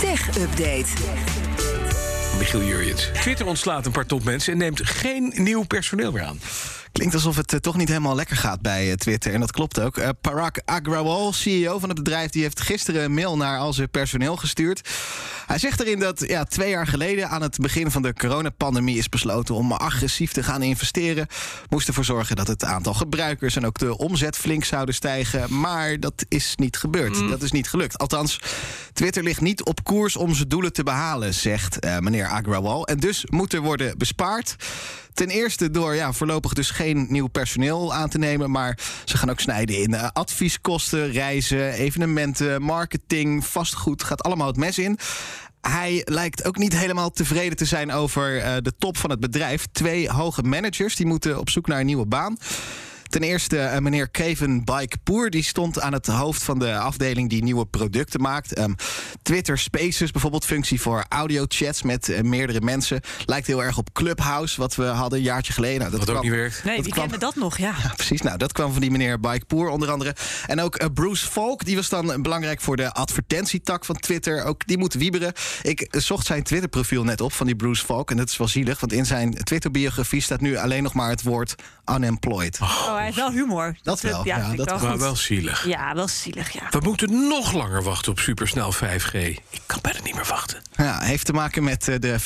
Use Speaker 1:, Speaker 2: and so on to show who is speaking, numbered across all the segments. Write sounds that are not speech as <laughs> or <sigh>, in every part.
Speaker 1: Tech-update.
Speaker 2: Michiel Jurjens. Twitter ontslaat een paar topmensen en neemt geen nieuw personeel meer aan.
Speaker 3: Klinkt alsof het eh, toch niet helemaal lekker gaat bij eh, Twitter. En dat klopt ook. Eh, Parag Agrawal, CEO van het bedrijf, die heeft gisteren een mail naar al zijn personeel gestuurd. Hij zegt erin dat ja, twee jaar geleden, aan het begin van de coronapandemie, is besloten om agressief te gaan investeren. Moest ervoor zorgen dat het aantal gebruikers en ook de omzet flink zouden stijgen. Maar dat is niet gebeurd. Dat is niet gelukt. Althans, Twitter ligt niet op koers om zijn doelen te behalen, zegt eh, meneer Agrawal. En dus moet er worden bespaard. Ten eerste door ja, voorlopig dus geen nieuw personeel aan te nemen. Maar ze gaan ook snijden in eh, advieskosten, reizen, evenementen, marketing, vastgoed. Gaat allemaal het mes in. Hij lijkt ook niet helemaal tevreden te zijn over eh, de top van het bedrijf. Twee hoge managers die moeten op zoek naar een nieuwe baan. Ten eerste eh, meneer Kevin Bikepoer. Die stond aan het hoofd van de afdeling die nieuwe producten maakt. Ehm, Twitter Spaces bijvoorbeeld, functie voor audiochats met eh, meerdere mensen. Lijkt heel erg op Clubhouse, wat we hadden een jaartje geleden. Nou, dat
Speaker 2: Wat ook
Speaker 3: kwam-
Speaker 2: niet werkt.
Speaker 4: Nee,
Speaker 3: Dat
Speaker 4: die
Speaker 3: kwam-
Speaker 4: kennen dat nog, ja.
Speaker 3: ja, <laughs> precies. Nou, dat kwam van die meneer Bikepoer onder andere. En ook eh, Bruce Falk, die was dan belangrijk voor de advertentietak van Twitter. Ook die moet wieberen. Ik eh, zocht zijn Twitterprofiel net op van die Bruce Falk. En dat is wel zielig, want in zijn Twitterbiografie staat nu alleen nog maar het woord unemployed.
Speaker 4: Oh, hij heeft wel humor. eh,
Speaker 3: Dat wel, ja,
Speaker 4: vind ik
Speaker 3: dat
Speaker 4: wel
Speaker 2: Maar
Speaker 4: goed.
Speaker 2: wel zielig.
Speaker 4: Ja, wel zielig, ja.
Speaker 2: We moeten nog langer wachten op supersnel 5G. Ik kan bijna niet meer wachten.
Speaker 3: Ja, heeft te maken met eh, de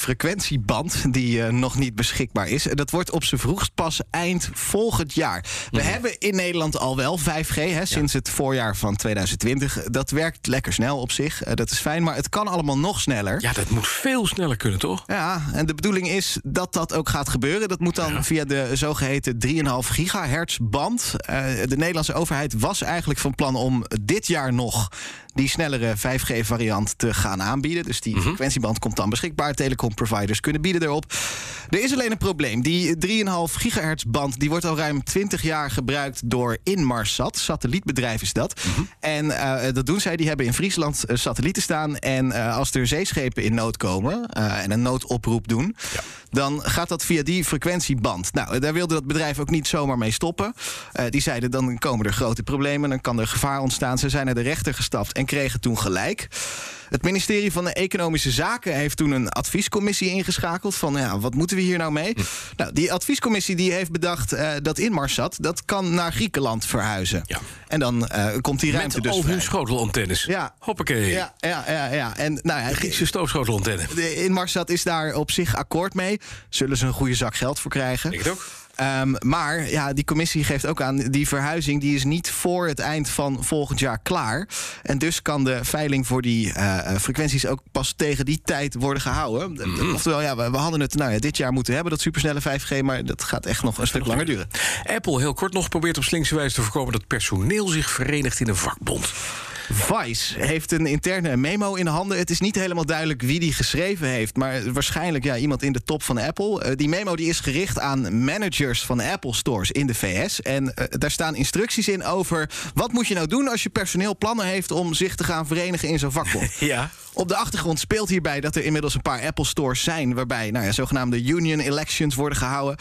Speaker 3: frequentieband die eh, nog niet beschikbaar is. En Dat wordt op zijn vroegst pas eind volgend jaar. We hebben in Nederland al wel 5G hè, sinds het voorjaar van 2020. Dat werkt lekker snel op zich. eh, dat is fijn, maar het kan allemaal nog sneller.
Speaker 2: Ja, dat moet veel sneller kunnen, toch?
Speaker 3: Ja, en de bedoeling is dat dat ook gaat gebeuren. Dat moet dan via de zogeheten 3,5 gigahertz band. Eh, de Nederlandse overheid was eigenlijk van plan om dit jaar nog die snellere 5G-variant te gaan aanbieden. Dus die frequentieband komt dan beschikbaar. Telecomproviders kunnen bieden erop. Er is alleen een probleem. Die 3,5 gigahertz band die wordt al ruim 20 jaar gebruikt door Inmarsat. Satellietbedrijf is dat. En eh, dat doen zij. Die hebben in Friesland eh, satellieten staan. En eh, als er zeeschepen in nood komen eh, en een noodoproep doen, dan gaat dat via die frequentieband. Nou, eh, daar wilde dat bedrijf ook niet zomaar mee stoppen. Eh, die zeiden dan komen er grote problemen, dan kan er gevaar ontstaan. Ze zijn naar de rechter gestapt en kregen toen gelijk. Het ministerie van de Economische Zaken heeft toen een adviescommissie ingeschakeld. Van ja, wat moeten we hier nou
Speaker 2: Hm.
Speaker 3: mee? Nou, die adviescommissie die heeft bedacht eh dat Inmarsat dat kan naar Griekenland verhuizen.
Speaker 2: Ja.
Speaker 3: En dan eh, komt die ruimte
Speaker 2: Met
Speaker 3: dus
Speaker 2: al
Speaker 3: vrij.
Speaker 2: hun schotelantennes.
Speaker 3: Ja.
Speaker 2: Hoppakee.
Speaker 3: Ja, ja, ja, ja. En nou ja,
Speaker 2: Griekse stoofschotelantenne.
Speaker 3: de Inmarsat is daar op zich akkoord mee. Zullen ze een goede zak geld voor krijgen.
Speaker 2: Ik het ook.
Speaker 3: Ehm, maar ja, die commissie geeft ook aan, die verhuizing die is niet voor het eind van volgend jaar klaar. En dus kan de veiling voor die eh, eh, frequenties ook pas tegen die tijd worden gehouden.
Speaker 2: Mhm.
Speaker 3: Oftewel, ja, we, we hadden het nou ja, dit jaar moeten hebben, dat supersnelle 5G, maar dat gaat echt nog een stuk langer duren.
Speaker 2: Apple heel kort nog probeert op slinkse wijze te voorkomen dat personeel zich verenigt in een vakbond.
Speaker 3: Vice heeft een interne memo in handen. Het is niet helemaal duidelijk wie die geschreven heeft. Maar waarschijnlijk ja, iemand in de top van Apple. Eh, die memo die is gericht aan managers van Apple stores in de VS. En eh, daar staan instructies in over... wat moet je nou doen als je personeel plannen heeft... om zich te gaan verenigen in zo'n vakbond.
Speaker 2: Ja.
Speaker 3: Op de achtergrond speelt hierbij dat er inmiddels een paar Apple stores zijn waarbij nou ja, zogenaamde union elections worden gehouden.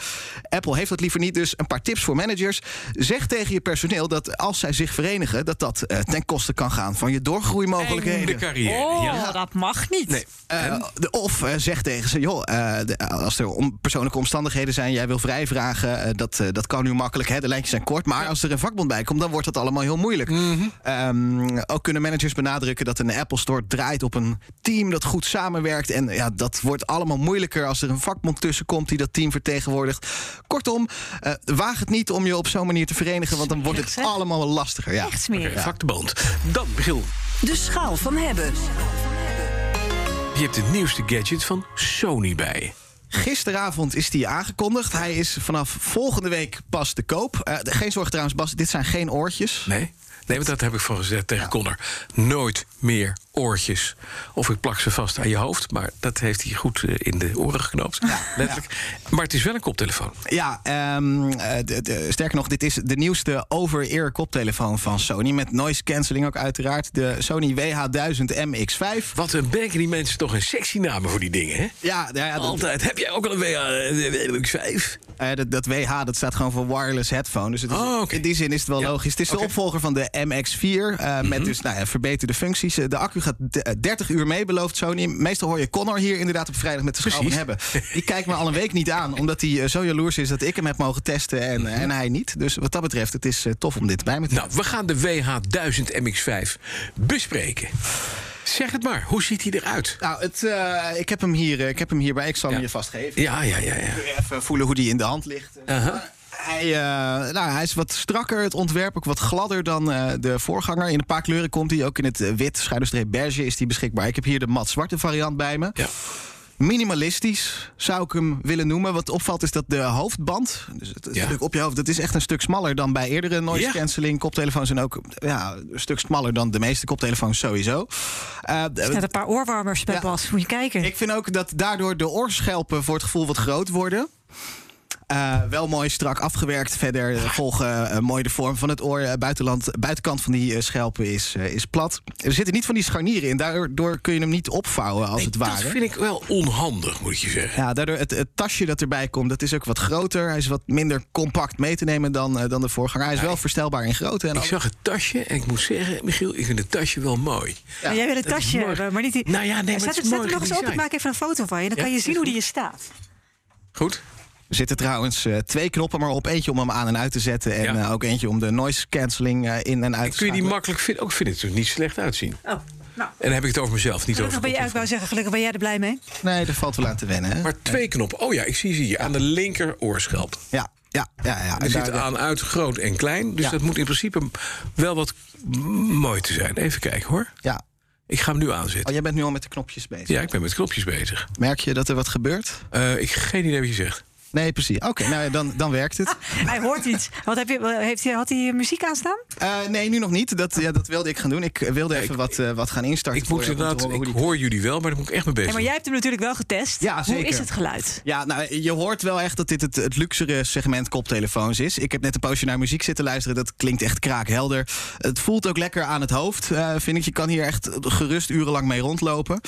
Speaker 3: Apple heeft dat liever niet, dus een paar tips voor managers. Zeg tegen je personeel dat als zij zich verenigen, dat dat eh, ten koste kan gaan van je
Speaker 2: En de
Speaker 3: doorgroeimogelijkheden.
Speaker 2: carrière.
Speaker 4: Oh,
Speaker 2: Ja.
Speaker 4: dat mag niet.
Speaker 2: Nee.
Speaker 3: Eh, de- of eh, zeg tegen ze, joh, eh, de- als er om, persoonlijke omstandigheden zijn, jij wil vrijvragen, eh, dat, eh, dat kan nu makkelijk, hè, de lijntjes zijn kort. Maar als er een vakbond bij komt, dan wordt dat allemaal heel moeilijk. Ehm, ook kunnen managers benadrukken dat een Apple Store draait op een team dat goed samenwerkt. En ja, dat wordt allemaal moeilijker als er een vakbond tussen komt die dat team vertegenwoordigt. Kortom, eh, waag het niet om je op zo'n manier te verenigen, want dan wordt het
Speaker 4: Smerig, zeg.
Speaker 3: allemaal lastiger. Ja.
Speaker 4: Echt smerig.
Speaker 2: Oké, vakbond. Dan, Michiel,
Speaker 1: De schaal van hebben.
Speaker 2: je hebt de nieuwste gadget van Sony bij.
Speaker 3: Gisteravond is die aangekondigd. Hij is vanaf volgende week pas te koop. Eh, geen zorg trouwens, Bas, dit zijn geen oortjes.
Speaker 2: Nee? Nee, want dat heb ik van gezegd tegen Connor. Nooit meer oortjes. Of ik plak ze vast aan je hoofd, maar dat heeft hij goed eh, in de oren geknoopt. <laughs> Letterlijk. Maar het is wel een koptelefoon.
Speaker 3: Ja, ehm, eh, d- d- sterker nog, dit is de nieuwste over-ear koptelefoon van Sony. Met noise cancelling ook uiteraard. De Sony WH1000MX5.
Speaker 2: Wat een bekken die mensen toch een sexy namen voor die dingen, hè?
Speaker 3: Ja, nou ja, dat-
Speaker 2: Altijd. Heb jij ook al een WX5?
Speaker 3: eh, dat, dat WH dat staat gewoon voor wireless headphone. Dus het is-
Speaker 2: Oh, oké.
Speaker 3: in die zin is het wel
Speaker 2: Ja.
Speaker 3: logisch. Het is de
Speaker 2: Oké. Mhm.
Speaker 3: opvolger van de MX4. eh, Met dus nou ja, verbeterde functies. Eh, De accu gaat d- eh, 30 uur mee, belooft Sony. Meestal hoor je Connor hier inderdaad op vrijdag met de schouw van
Speaker 2: Precies.
Speaker 3: hebben. Die kijkt me al een week niet aan, omdat hij eh, zo jaloers is dat ik hem heb mogen testen en,
Speaker 2: Mhm.
Speaker 3: en hij niet. Dus wat dat betreft, het is eh, tof om dit bij me te
Speaker 2: Nou, we gaan de WH1000 MX5 bespreken. Zeg het maar, hoe ziet hij eruit?
Speaker 3: Nou, het, eh, ik, heb hem hier, eh, ik heb hem hierbij. Ik zal hem
Speaker 2: Ja.
Speaker 3: je vastgeven.
Speaker 2: Ja, ja, ja, ja.
Speaker 3: Kun je Even voelen hoe die in de hand ligt.
Speaker 2: Aha.
Speaker 3: Hij, eh, nou, hij is wat strakker, het ontwerp ook wat gladder dan eh, de voorganger. In een paar kleuren komt hij. Ook in het eh, wit, schuiderstreep beige is hij beschikbaar. Ik heb hier de mat zwarte variant bij me.
Speaker 2: Ja.
Speaker 3: Minimalistisch zou ik hem willen noemen. Wat opvalt is dat de hoofdband, dus het
Speaker 2: Ja.
Speaker 3: stuk op je hoofd, dat is echt een stuk smaller dan bij eerdere noise
Speaker 2: Ja.
Speaker 3: cancelling koptelefoons. En ook ja, een stuk smaller dan de meeste koptelefoons sowieso. Eh,
Speaker 4: Er net een paar oorwarmers bij
Speaker 3: Ja.
Speaker 4: Bas. Moet je
Speaker 3: <laughs>
Speaker 4: kijken.
Speaker 3: ik vind ook dat daardoor de oorschelpen voor het gevoel wat groot worden. Eh, wel mooi strak afgewerkt. Verder eh, volgen eh, mooi de vorm van het oor. Eh, buitenland, buitenkant van die eh, schelpen is, eh, is plat. Er zitten niet van die scharnieren in. Daardoor kun je hem niet opvouwen als het
Speaker 2: Dat
Speaker 3: ware.
Speaker 2: vind ik wel onhandig, moet ik je zeggen.
Speaker 3: Ja, daardoor het, het tasje dat erbij komt, dat is ook wat groter. Hij is wat minder compact mee te nemen dan, eh, dan de voorganger. Hij is wel verstelbaar in grootte. En
Speaker 2: Ik
Speaker 3: al-
Speaker 2: zag het tasje en ik moet zeggen, Michiel, ik vind het tasje wel mooi.
Speaker 4: Maar jij wil een
Speaker 2: dat is
Speaker 4: tasje
Speaker 2: mooi.
Speaker 4: hebben, maar niet die...
Speaker 2: Nou ja, nee, maar het
Speaker 4: zet,
Speaker 2: is
Speaker 4: hem- zet
Speaker 2: mooi
Speaker 4: hem nog eens open,
Speaker 2: gedesign.
Speaker 4: maak even een foto van je. Dan
Speaker 2: Ja,
Speaker 4: kan je
Speaker 2: is
Speaker 4: zien hoe
Speaker 2: goed.
Speaker 4: die je staat.
Speaker 2: Goed?
Speaker 3: Er zitten trouwens eh, twee knoppen maar op. Eentje om hem aan en uit te zetten. En
Speaker 2: Ja.
Speaker 3: eh, ook eentje om de noise cancelling eh, in en
Speaker 2: Kun je
Speaker 3: uit te
Speaker 2: die
Speaker 3: schakelen.
Speaker 2: makkelijk vinden? Ook vind ik het er niet slecht uitzien. En
Speaker 4: Oh, nou.
Speaker 2: dan heb ik het over mezelf, niet
Speaker 4: Gelukkig
Speaker 2: over
Speaker 4: ben,
Speaker 2: de
Speaker 4: jij, ik
Speaker 2: computer.
Speaker 4: wou zeggen, gelukkig ben jij er blij mee.
Speaker 3: Nee, daar valt wel aan te wennen. Hè?
Speaker 2: Maar twee knoppen. Oh ja, ik zie ze hier. Aan de linker oorschelp.
Speaker 3: Ja, ja, ja. ja.
Speaker 2: Er
Speaker 3: En
Speaker 2: zit
Speaker 3: daar-
Speaker 2: aan, uit, groot en klein. Dus
Speaker 3: Ja.
Speaker 2: dat moet in principe wel wat m- mooi te zijn. Even kijken hoor.
Speaker 3: ja.
Speaker 2: Ik ga hem nu aanzetten.
Speaker 3: Oh, jij bent nu al met de knopjes bezig.
Speaker 2: Ja, ik ben met knopjes bezig.
Speaker 3: Merk je dat er wat gebeurt?
Speaker 2: Eh, ik heb geen idee wat je zegt.
Speaker 3: Nee, precies. Oké, nou ja, dan, dan werkt <laughs> het.
Speaker 4: Hij hoort iets. Wat heb je, wat- heeft hij, had hij muziek aanstaan?
Speaker 3: Eh, nee, nu nog niet. Dat, ja, dat wilde ik gaan doen. Ik eh, wilde even wat, eh, wat gaan instarten.
Speaker 2: Ik
Speaker 3: voor
Speaker 2: moet
Speaker 3: je, om te
Speaker 2: inderdaad,
Speaker 3: horen hoe
Speaker 2: ik
Speaker 3: die-
Speaker 2: hoor jullie wel, maar daar moet ik echt mee bezig
Speaker 4: Hey, maar jij hebt hem natuurlijk wel getest.
Speaker 3: Ja, zeker.
Speaker 4: Hoe is het geluid?
Speaker 3: Ja, nou, je hoort wel echt dat dit het, het luxere segment koptelefoons is. Ik heb net een poosje naar muziek zitten luisteren. Dat klinkt echt kraakhelder. Het voelt ook lekker aan het hoofd, eh, vind ik. Je kan hier echt gerust urenlang mee rondlopen.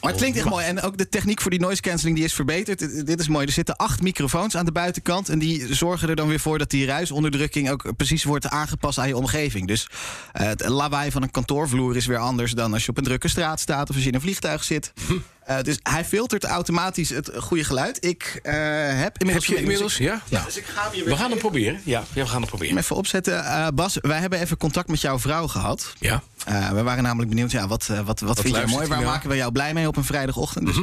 Speaker 3: Maar het klinkt echt mooi. En ook de techniek voor die noise cancelling die is verbeterd. Dit- Dit is mooi. Er zitten acht microfoons aan de buitenkant. En die zorgen er dan weer voor dat die ruisonderdrukking ook precies wordt aangepast aan je omgeving. Dus eh, het lawaai van een kantoorvloer is weer anders dan als je op een drukke straat staat of als je in een vliegtuig zit.
Speaker 2: <laughs>
Speaker 3: Eh, dus hij filtert automatisch het goede geluid. Ik eh, heb
Speaker 2: Heb
Speaker 3: inmiddels.
Speaker 2: je inmiddels? Ja?
Speaker 3: Ja, dus ik ga hem hier weer
Speaker 2: We gaan hem proberen. Ja, ja we gaan hem
Speaker 3: hem
Speaker 2: proberen.
Speaker 3: even opzetten. Eh, Bas, wij hebben even contact met jouw vrouw gehad.
Speaker 2: Ja.
Speaker 3: Eh, we waren namelijk benieuwd, ja, wat, eh, wat, wat, vind je
Speaker 2: luistert
Speaker 3: mooi?
Speaker 2: hij
Speaker 3: Waar
Speaker 2: nou? Mhm.
Speaker 3: maken we jou blij mee op een vrijdagochtend? Dus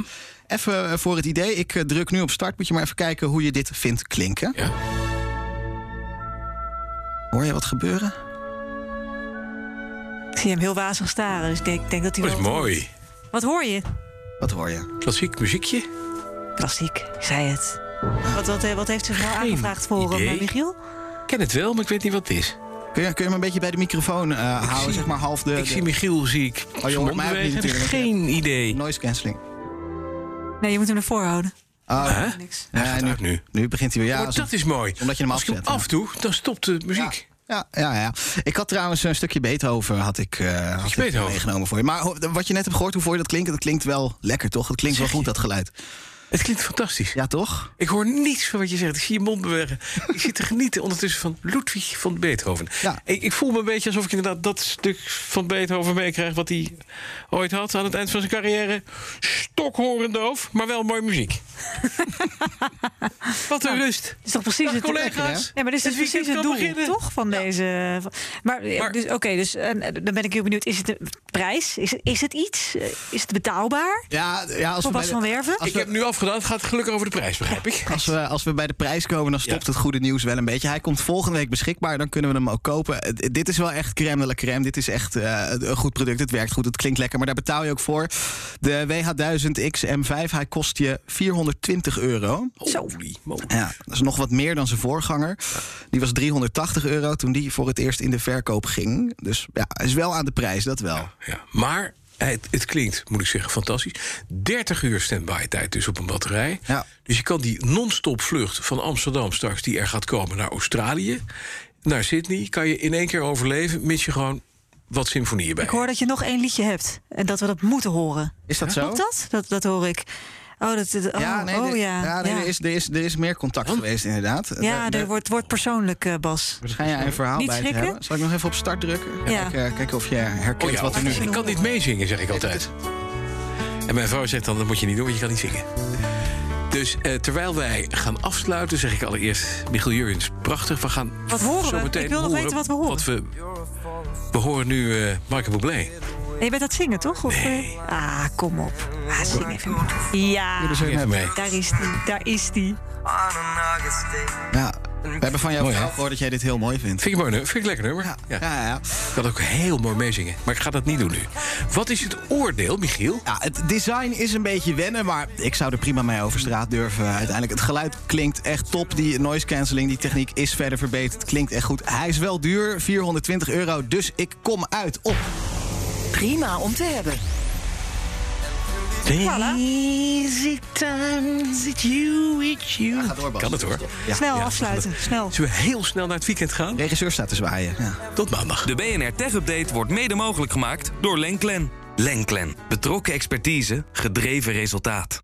Speaker 3: even eh, voor het idee, ik eh, druk nu op start. Moet je maar even kijken hoe je dit vindt klinken.
Speaker 2: ja.
Speaker 3: Hoor je wat gebeuren?
Speaker 4: Ik zie hem heel wazig staren, dus ik denk, ik denk dat hij
Speaker 2: Dat is
Speaker 4: wel wat
Speaker 2: mooi.
Speaker 4: hoort. Wat hoor je?
Speaker 3: Wat hoor je?
Speaker 2: Klassiek muziekje.
Speaker 4: Klassiek, ik zei het. Wat, wat, wat heeft ze nou
Speaker 2: Geen
Speaker 4: aangevraagd voor hem,
Speaker 2: idee.
Speaker 4: eh, Michiel?
Speaker 2: Ik ken het wel, maar ik weet niet wat het is.
Speaker 3: Kun je, kun je hem een beetje bij de microfoon eh, houden?
Speaker 2: zie-
Speaker 3: zeg maar half de,
Speaker 2: ik
Speaker 3: de
Speaker 2: zie Michiel, zie ik.
Speaker 3: hoort
Speaker 2: zijn mond
Speaker 3: mij ook niet
Speaker 2: bewegen. Ik heb
Speaker 3: natuurlijk,
Speaker 2: Geen idee.
Speaker 3: noise cancelling.
Speaker 4: Nee, je moet hem ervoor houden.
Speaker 3: Oh,
Speaker 2: Hè?
Speaker 4: Niks.
Speaker 2: Hij
Speaker 3: ja,
Speaker 2: gaat uit nu.
Speaker 3: nu begint hij weer. Ja,
Speaker 2: maar
Speaker 3: als
Speaker 2: dat is mooi.
Speaker 3: omdat je hem
Speaker 2: Als ik hem
Speaker 3: afzet, hè?
Speaker 2: afdoe, dan stopt de muziek.
Speaker 3: Ja, ja, ja. Ik had trouwens een stukje Beethoven, had ik, eh, had ik
Speaker 2: Beethoven?
Speaker 3: meegenomen voor je. Maar ho- wat je net hebt gehoord, hoe vond je dat klinken? Dat klinkt wel lekker, toch? Dat klinkt wel goed, dat geluid.
Speaker 2: Het klinkt fantastisch.
Speaker 3: Ja, toch?
Speaker 2: Ik hoor niets van wat je zegt. Ik zie je mond bewegen. ik zit te <laughs> genieten ondertussen van Ludwig van Beethoven.
Speaker 3: Ja.
Speaker 2: Ik, ik voel me een beetje alsof ik inderdaad dat stuk van Beethoven meekrijg... wat hij ooit had aan het eind van zijn carrière. Stokhorend doof, maar wel mooie muziek.
Speaker 3: <laughs>
Speaker 2: wat
Speaker 3: Nou,
Speaker 2: een rust.
Speaker 4: Het is toch precies
Speaker 2: Dag,
Speaker 4: het
Speaker 2: collega's.
Speaker 4: Nee, maar dit is
Speaker 2: Het weekend
Speaker 4: dus precies het
Speaker 2: kan
Speaker 4: doel,
Speaker 2: beginnen.
Speaker 4: toch? Van deze. van- maar eh,
Speaker 2: Maar-
Speaker 4: dus, oké, dus eh, dan ben ik heel benieuwd. Is het een prijs? Is het, is het iets? Eh, Is het betaalbaar?
Speaker 3: Ja, ja als, we
Speaker 4: Voor
Speaker 3: bij
Speaker 4: Bas van
Speaker 3: de, Ah.
Speaker 4: Werven?
Speaker 3: als
Speaker 2: ik heb nu afgedaan. Het gaat gelukkig over de prijs, begrijp ik.
Speaker 3: als, we, als we bij de prijs komen, dan stopt het goede nieuws wel een beetje. Hij komt volgende week beschikbaar, dan kunnen we hem ook kopen. Het- dit is wel echt crème de la crème. Dit is echt eh, een goed product. Het werkt goed, het klinkt lekker, maar daar betaal je ook voor. De WH1000XM5, hij kost je 420 euro.
Speaker 4: Zo.
Speaker 2: Holy moly.
Speaker 3: Ja, dat is nog wat meer dan zijn voorganger. Die was 380 euro toen die voor het eerst in de verkoop ging. Dus ja, hij is wel aan de prijs, dat wel.
Speaker 2: Ja, maar het, het klinkt, moet ik zeggen, fantastisch. 30 uur standby tijd dus op een batterij.
Speaker 3: Ja.
Speaker 2: Dus je kan die non-stop vlucht van Amsterdam straks... die er gaat komen naar Australië, naar Sydney... kan je in één keer overleven, mits je gewoon wat symfonieën bij
Speaker 4: Ik hoor dat je nog één liedje hebt en dat we dat moeten horen.
Speaker 3: Is dat zo?
Speaker 4: Klopt dat? dat? Dat hoor ik. Oh, dat, dat- oh,
Speaker 3: ja, nee,
Speaker 4: oh,
Speaker 3: er-
Speaker 4: ja. Oh.
Speaker 3: ja, nee, Er, is, er, is, er is meer contact geweest, inderdaad.
Speaker 4: Ja,
Speaker 3: Daar-
Speaker 4: er wordt, wordt persoonlijk, eh, Bas.
Speaker 3: daar schijn jij een verhaal
Speaker 4: Niet
Speaker 3: bij
Speaker 4: schrikken.
Speaker 3: te hebben. Zal ik nog even op start drukken?
Speaker 4: Ja.
Speaker 3: Kijken, kijken of je herkent
Speaker 2: Oh ja,
Speaker 3: wat er nu
Speaker 2: ik kan niet meezingen, zeg ik altijd. En mijn vrouw zegt dan, dat moet je niet doen, want je kan niet zingen. Dus eh, terwijl wij gaan afsluiten, zeg ik allereerst... Michiel Jurgens, prachtig. We gaan
Speaker 4: Wat horen we?
Speaker 2: zo meteen
Speaker 4: Ik wil nog
Speaker 2: horen
Speaker 4: weten wat we horen.
Speaker 2: we, we horen nu eh Marco Bublé.
Speaker 4: En je bent aan het zingen, toch? Of, eh? Ah, kom op. Ah, zing even. Ja,
Speaker 2: Even mee.
Speaker 4: daar is die. Daar is die.
Speaker 5: on an August day.
Speaker 3: Ja, we hebben van jou
Speaker 2: Mooi, hè?
Speaker 3: gehoord dat jij dit heel mooi vindt.
Speaker 2: Vind ik mooi, nummer? Vind ik lekker nummer?
Speaker 3: Ja, ja,
Speaker 2: Ja.
Speaker 3: ja. ja.
Speaker 2: Ik kan ook heel mooi meezingen, maar ik ga dat niet doen nu. Wat is het oordeel, Michiel?
Speaker 3: Ja, het design is een beetje wennen, maar ik zou er prima mee over straat durven. Uiteindelijk, het geluid klinkt echt top. Die noise cancelling, die techniek is verder verbeterd. Klinkt echt goed. Hij is wel duur, 420 euro, dus ik kom uit op...
Speaker 1: Prima om te hebben.
Speaker 2: Easy times, it's you, it's you.
Speaker 3: Ga door, Bas.
Speaker 2: Kan het hoor.
Speaker 4: Snel afsluiten, snel.
Speaker 2: Zullen we heel snel naar het weekend gaan?
Speaker 3: Regisseur staat te zwaaien. Ja.
Speaker 2: Tot maandag.
Speaker 6: De BNR Tech Update wordt mede mogelijk gemaakt door Lenklen. Lenklen. Betrokken expertise, gedreven resultaat.